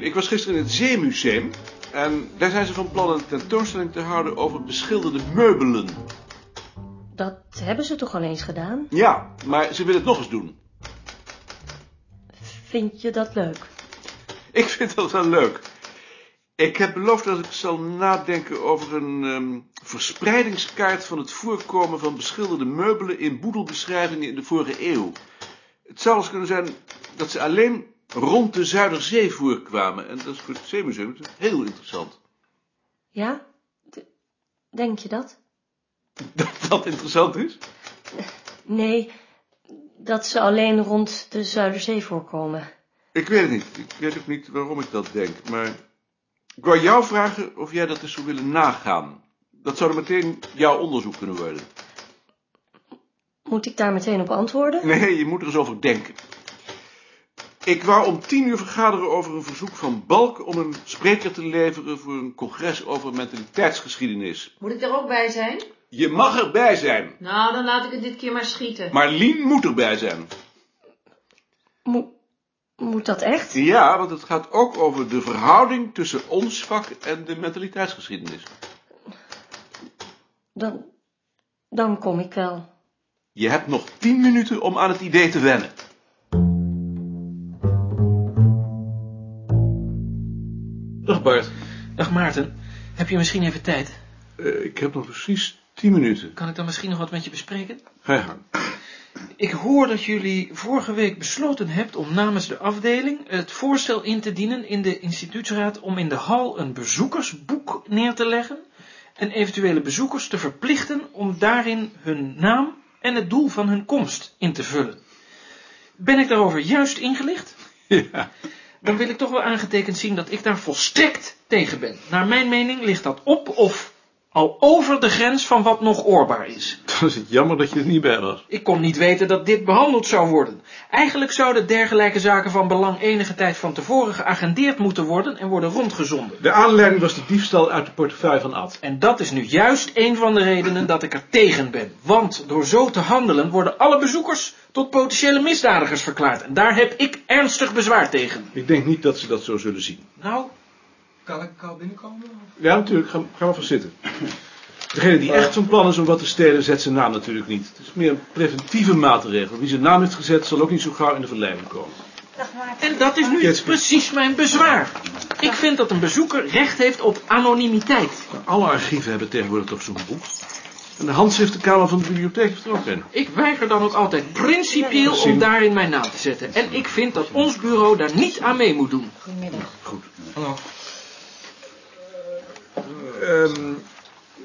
Ik was gisteren in het Zeemuseum. En daar zijn ze van plan een tentoonstelling te houden over beschilderde meubelen. Dat hebben ze toch al eens gedaan? Ja, maar ze willen het nog eens doen. Vind je dat leuk? Ik vind dat wel leuk. Ik heb beloofd dat ik zal nadenken over een ehm, verspreidingskaart van het voorkomen van beschilderde meubelen in boedelbeschrijvingen in de vorige eeuw. Het zou eens kunnen zijn dat ze alleen rond de Zuiderzee voorkwamen. En dat is voor het Zeemuseum natuurlijk heel interessant. Ja? D- Denk je dat? Dat dat interessant is? Nee, dat ze alleen rond de Zuiderzee voorkomen. Ik weet het niet. Ik weet ook niet waarom ik dat denk. Maar ik wou jou vragen of jij dat eens zou willen nagaan. Dat zou dan meteen jouw onderzoek kunnen worden. Moet ik daar meteen op antwoorden? Nee, je moet er eens over denken. Ik wou om tien uur vergaderen over een verzoek van Balk om een spreker te leveren voor een congres over mentaliteitsgeschiedenis. Moet ik er ook bij zijn? Je mag erbij zijn. Nou, dan laat ik het dit keer maar schieten. Maar Lien moet erbij zijn. Mo- moet dat echt? Ja, want het gaat ook over de verhouding tussen ons vak en de mentaliteitsgeschiedenis. Dan, dan kom ik wel. Je hebt nog tien minuten om aan het idee te wennen. Dag Bart. Dag Maarten, heb je misschien even tijd? Eh, ik heb nog precies tien minuten. Kan ik dan misschien nog wat met je bespreken? Ga je gang. Ik hoor dat jullie vorige week besloten hebt om namens de afdeling het voorstel in te dienen in de instituutsraad om in de hal een bezoekersboek neer te leggen en eventuele bezoekers te verplichten om daarin hun naam en het doel van hun komst in te vullen. Ben ik daarover juist ingelicht? Ja. Dan wil ik toch wel aangetekend zien dat ik daar volstrekt tegen ben. Naar mijn mening ligt dat op of al over de grens van wat nog oorbaar is. Dan is het jammer dat je er niet bij was. Ik kon niet weten dat dit behandeld zou worden. Eigenlijk zouden dergelijke zaken van belang enige tijd van tevoren geagendeerd moeten worden en worden rondgezonden. De aanleiding was de diefstal uit de portefeuille van Ad. En dat is nu juist een van de redenen dat ik er tegen ben. Want door zo te handelen worden alle bezoekers tot potentiële misdadigers verklaard. En daar heb ik ernstig bezwaar tegen. Ik denk niet dat ze dat zo zullen zien. Nou, Kan ik al binnenkomen? Ja, natuurlijk. Ga, ga maar van zitten. Degene die echt van plan is om wat te stelen, zet zijn naam natuurlijk niet. Het is meer een preventieve maatregel. Wie zijn naam heeft gezet, zal ook niet zo gauw in de verleiding komen. En dat is nu Yes. precies mijn bezwaar. Ik vind dat een bezoeker recht heeft op anonimiteit. Alle archieven hebben tegenwoordig toch zo'n boek. En de handschriftenkamer van de bibliotheek heeft er ook een. Ik weiger dan ook altijd principieel om daarin mijn naam te zetten. En ik vind dat ons bureau daar niet aan mee moet doen. Hallo.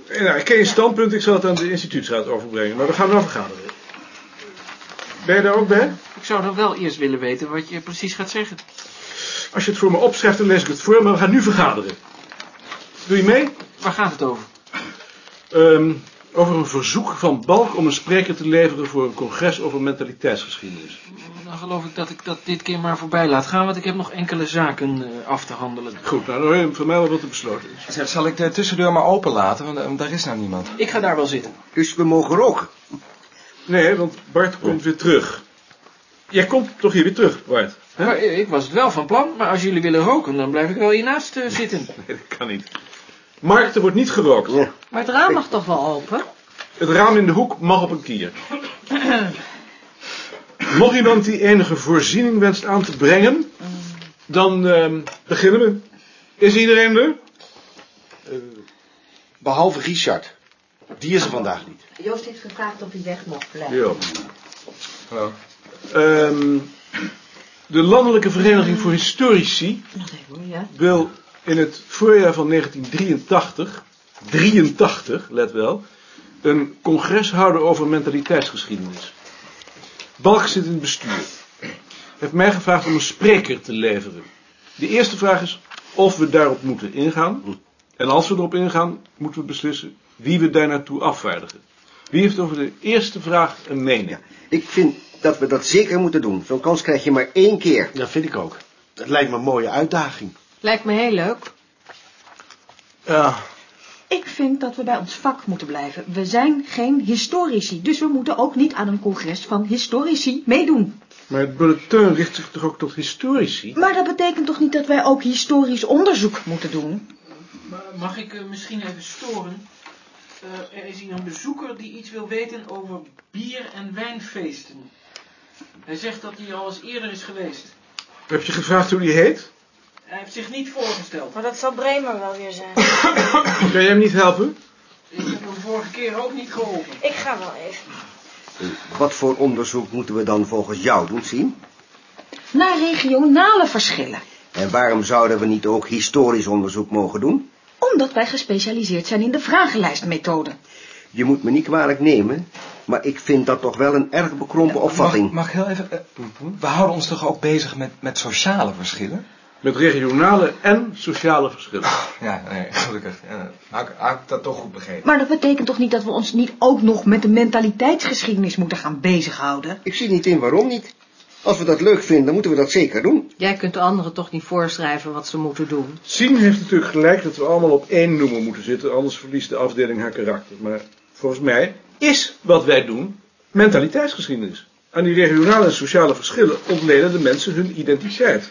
nou, ik ken je standpunt, ik zal het aan de instituutsraad overbrengen. Maar we gaan wel vergaderen. Ben je daar ook bij? Ik zou dan wel eerst willen weten wat je precies gaat zeggen. Als je het voor me opschrijft, dan lees ik het voor, maar we gaan nu vergaderen. Doe je mee? Waar gaat het over? Ehm, over een verzoek van Balk om een spreker te leveren voor een congres over mentaliteitsgeschiedenis. Dan Nou, geloof ik dat ik dat dit keer maar voorbij laat gaan, want ik heb nog enkele zaken eh, af te handelen. Goed, nou dan hoor je van mij wel wat er besloten is. Zeg, zal ik de tussendeur maar open laten? Want eh, daar is nou niemand. Ik ga daar wel zitten. Dus we mogen roken. Nee, want Bart komt weer terug. Jij komt toch hier weer terug, Bart? Nou, ik was het wel van plan, maar als jullie willen roken, dan blijf ik wel hiernaast eh, zitten. Nee, dat kan niet. Mark, er wordt niet gerookt. Maar het raam mag toch wel open? Het raam in de hoek mag op een kier. Nog iemand die enige voorziening wenst aan te brengen? Dan ehm, beginnen we. Is iedereen er? Behalve Richard. Die is er vandaag niet. Joost heeft gevraagd of hij weg mocht blijven. Ja. Hallo. Ehm, de Landelijke Vereniging voor Historici Nog even, ja. wil in het voorjaar van 1983, 83, let wel, een congres houden over mentaliteitsgeschiedenis. Balk zit in het bestuur. Heeft mij gevraagd om een spreker te leveren. De eerste vraag is of we daarop moeten ingaan. En als we erop ingaan, moeten we beslissen wie we daar naartoe afvaardigen. Wie heeft over de eerste vraag een mening? Ik vind dat we dat zeker moeten doen. Zo'n kans krijg je maar één keer. Dat vind ik ook. Het lijkt me een mooie uitdaging. Lijkt me heel leuk. Ja. Ik vind dat we bij ons vak moeten blijven. We zijn geen historici, dus we moeten ook niet aan een congres van historici meedoen. Maar het bulletin richt zich toch ook tot historici? Maar dat betekent toch niet dat wij ook historisch onderzoek moeten doen? Ma- Mag ik eh, misschien even storen? Eh, er is hier een bezoeker die iets wil weten over bier- en wijnfeesten. Hij zegt dat hij al eens eerder is geweest. Heb je gevraagd hoe die heet? Hij heeft zich niet voorgesteld. Maar dat zal Bremer wel weer zijn. Kan jij hem niet helpen? Ik heb hem vorige keer ook niet geholpen. Ik ga wel even. Wat voor onderzoek moeten we dan volgens jou doen, zien? Naar regionale verschillen. En waarom zouden we niet ook historisch onderzoek mogen doen? Omdat wij gespecialiseerd zijn in de vragenlijstmethode. Je moet me niet kwalijk nemen, maar ik vind dat toch wel een erg bekrompen opvatting. Mag, mag ik heel even... eh, Mm -hmm. we houden ons toch ook bezig met, met sociale verschillen? Met regionale en sociale verschillen. Ja, nee, gelukkig. Ja, had, ik- had ik dat toch goed begrepen? Maar dat betekent toch niet dat we ons niet ook nog met de mentaliteitsgeschiedenis moeten gaan bezighouden? Ik zie niet in waarom niet. Als we dat leuk vinden, moeten we dat zeker doen. Jij kunt de anderen toch niet voorschrijven wat ze moeten doen. Sien heeft natuurlijk gelijk dat we allemaal op één noemer moeten zitten, anders verliest de afdeling haar karakter. Maar volgens mij is wat wij doen mentaliteitsgeschiedenis. Aan die regionale en sociale verschillen ontlenen de mensen hun identiteit.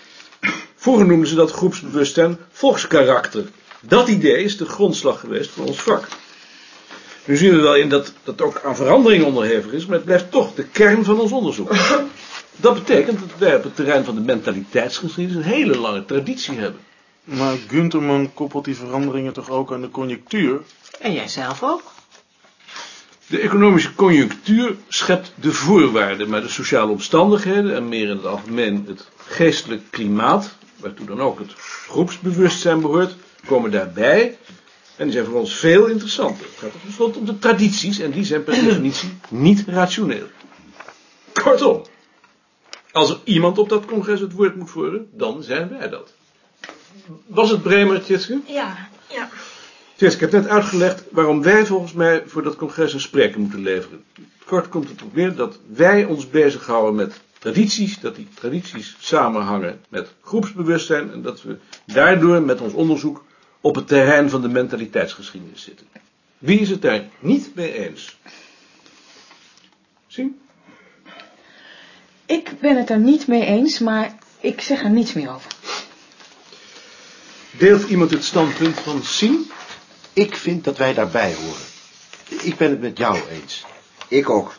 Vroeger noemden ze dat groepsbewustzijn volkskarakter. Dat idee is de grondslag geweest van ons vak. Nu zien we wel in dat dat ook aan verandering onderhevig is, maar het blijft toch de kern van ons onderzoek. Dat betekent dat wij op het terrein van de mentaliteitsgeschiedenis een hele lange traditie hebben. Maar Gunterman koppelt die veranderingen toch ook aan de conjectuur? En jij zelf ook. De economische conjunctuur schept de voorwaarden, maar de sociale omstandigheden en meer in het algemeen het geestelijk klimaat, waartoe dan ook het groepsbewustzijn behoort, komen daarbij en die zijn voor ons veel interessanter. Het gaat tenslotte om de tradities en die zijn per definitie niet rationeel. Kortom, als er iemand op dat congres het woord moet voeren, dan zijn wij dat. Was het Bremer, Tjitske? Ja, ja. Tjens, ik heb net uitgelegd waarom wij volgens mij voor dat congres een spreker moeten leveren. Kort komt het op neer dat wij ons bezighouden met tradities, dat die tradities samenhangen met groepsbewustzijn en dat we daardoor met ons onderzoek op het terrein van de mentaliteitsgeschiedenis zitten. Wie is het daar niet mee eens? Zien? Ik ben het er niet mee eens, maar ik zeg er niets meer over. Deelt iemand het standpunt van Sien? Ik vind dat wij daarbij horen. Ik ben het met jou eens. Ik ook.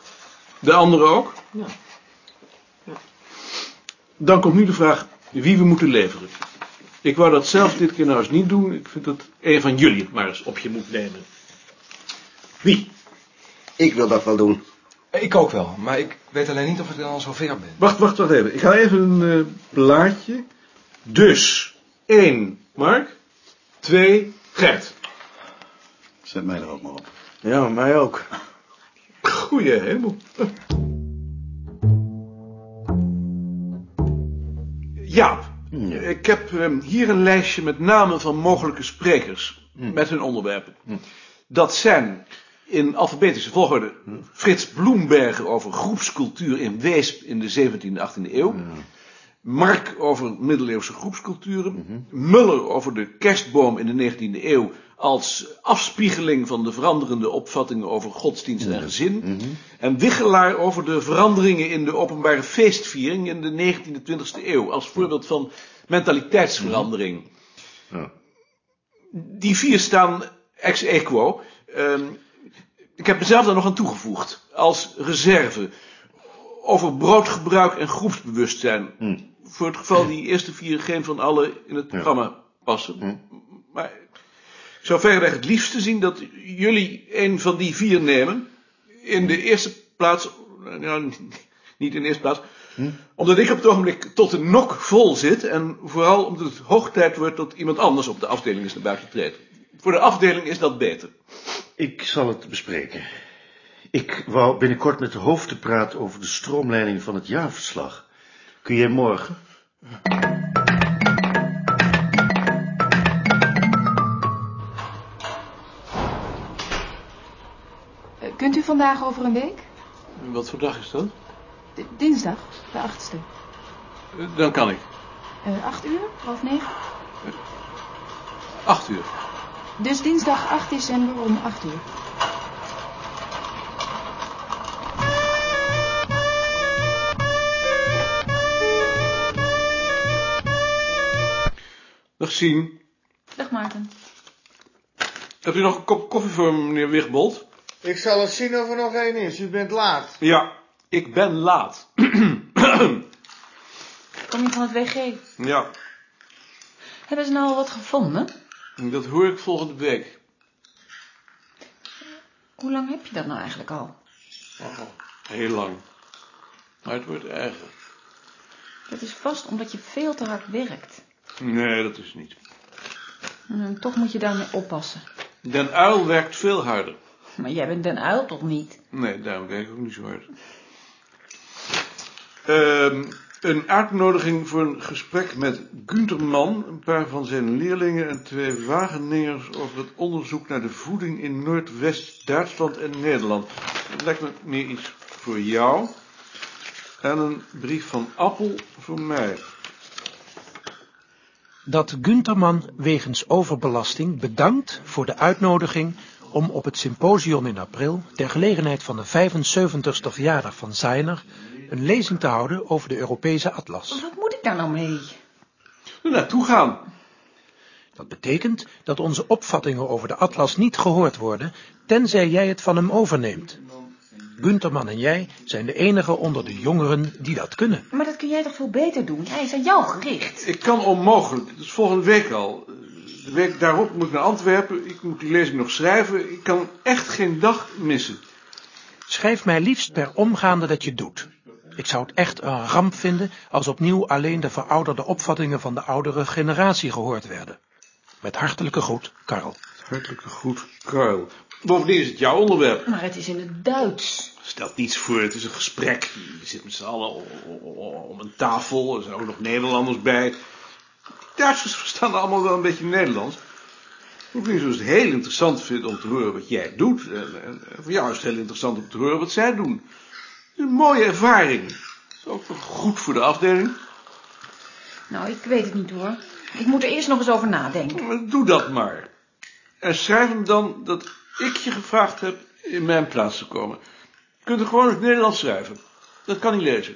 De andere ook? Dan komt nu de vraag wie we moeten leveren. Ik wou dat zelf dit keer nou eens niet doen. Ik vind dat een van jullie het maar eens op je moet nemen. Wie? Ik wil dat wel doen. Ik ook wel, maar ik weet alleen niet of ik dan al zover ben. Wacht, wacht, wacht even. Ik haal even een eh, blaadje. Dus, één, Mark. Twee, Gert. Zet mij er ook maar op. Ja, mij ook. Goeie hemel. Jaap, ik heb ehm, hier een lijstje met namen van mogelijke sprekers met hun onderwerpen. Dat zijn in alfabetische volgorde Frits Bloemberger over groepscultuur in Weesp in de 17e 18e eeuw. Mark over middeleeuwse groepsculturen. Muller over de kerstboom in de 19e eeuw als afspiegeling van de veranderende opvattingen over godsdienst en gezin. En Wichelaar over de veranderingen in de openbare feestviering in de 19e 20e eeuw als voorbeeld van mentaliteitsverandering. Die vier staan ex equo. Ehm, ik heb mezelf daar nog aan toegevoegd als reserve over broodgebruik en groepsbewustzijn. Voor het geval die eerste vier geen van alle in het programma passen. Maar ik zou verreweg het liefste zien dat jullie een van die vier nemen. In de eerste plaats, nou, niet in de eerste plaats, omdat ik op het ogenblik tot de nok vol zit. En vooral omdat het hoog tijd wordt dat iemand anders op de afdeling is naar buiten treedt. Voor de afdeling is dat beter. Ik zal het bespreken. Ik wou binnenkort met de hoofden praten over de stroomleiding van het jaarverslag. Kun jij morgen? Eh, Kunt u vandaag over een week? Wat voor dag is dat? D- dinsdag, de achtste. Dan kan ik. Eh acht uur, half negen? Acht uur. Dus dinsdag 8 december om acht uur. Dag zien. Dag Maarten. Hebt u nog een kop koffie voor me, meneer Wigbold? Ik zal eens zien of er nog één is. U bent laat. Ja, ik ben laat. Kom je van het WG? ja, Hebben ze nou al wat gevonden? dat hoor ik volgende week. Hoe lang heb je dat nou eigenlijk al? Oh, Heel lang. Maar het wordt erger. Dat is vast omdat je veel te hard werkt. Nee, dat is niet. En eh, toch moet je daarmee oppassen. Den Uil werkt veel harder. Maar jij bent Den Uil toch niet? Nee, daarom werk ik ook niet zo hard. Ehm, een uitnodiging voor een gesprek met Günter Mann, een paar van zijn leerlingen en twee Wageningers over het onderzoek naar de voeding in Noordwest-Duitsland en Nederland. Dat lijkt me meer iets voor jou. En een brief van Appel voor mij. dat Gunterman wegens overbelasting bedankt voor de uitnodiging om op het symposium in april, ter gelegenheid van de 75ste verjaardag van Zeiner, een lezing te houden over de Europese atlas. Wat moet ik daar nou mee? Naartoe gaan. Dat betekent dat onze opvattingen over de atlas niet gehoord worden, tenzij jij het van hem overneemt. Gunterman en jij zijn de enigen onder de jongeren die dat kunnen. Maar dat kun jij toch veel beter doen? Hij is aan jou gericht. Ik kan onmogelijk. Het is volgende week al. De week daarop moet ik naar Antwerpen. Ik moet die lezing nog schrijven. Ik kan echt geen dag missen. Schrijf mij liefst per omgaande dat je het doet. Ik zou het echt een ramp vinden als opnieuw alleen de verouderde opvattingen van de oudere generatie gehoord werden. Met hartelijke groet, Karl. Hartelijke groet, Karl. Bovendien is het jouw onderwerp. Maar het is in het Duits. Stelt niets voor, het is een gesprek. Je zit met z'n allen o- o- o- om een tafel. Er zijn ook nog Nederlanders bij. Duitsers verstaan allemaal wel een beetje Nederlands. Bovendien zullen ze het dus heel interessant vinden om te horen wat jij doet. En, en- en voor jou is het heel interessant om te horen wat zij doen. Het is een mooie ervaring. Het is ook nog goed voor de afdeling. Nou, ik weet het niet hoor. Ik moet er eerst nog eens over nadenken. Doe dat maar. En schrijf hem dan dat ik je gevraagd heb in mijn plaats te komen. Je kunt er gewoon in het Nederlands schrijven. Dat kan hij lezen.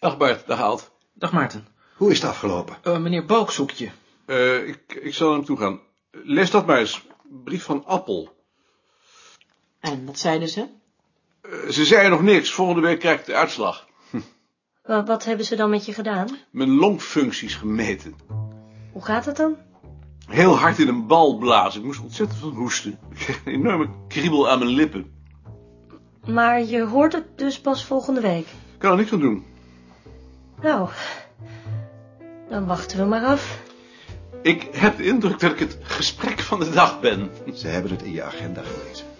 Dag Bart, dag Alt. Dag Maarten. Hoe is het afgelopen? Eh, meneer Balk zoekt je. Eh, ik, ik zal naar hem toe gaan. Lees dat maar eens. Brief van Appel. En wat zeiden ze? Eh, ze zeiden nog niks. Volgende week krijg ik de uitslag. Wa- Wat hebben ze dan met je gedaan? Mijn longfuncties gemeten. Hoe gaat het dan? Heel hard in een bal blazen. Ik moest ontzettend van hoesten. Ik kreeg een enorme kriebel aan mijn lippen. Maar je hoort het dus pas volgende week. Ik kan er niks aan doen. Nou, dan wachten we maar af. Ik heb de indruk dat ik het gesprek van de dag ben. Ze hebben het in je agenda gelezen.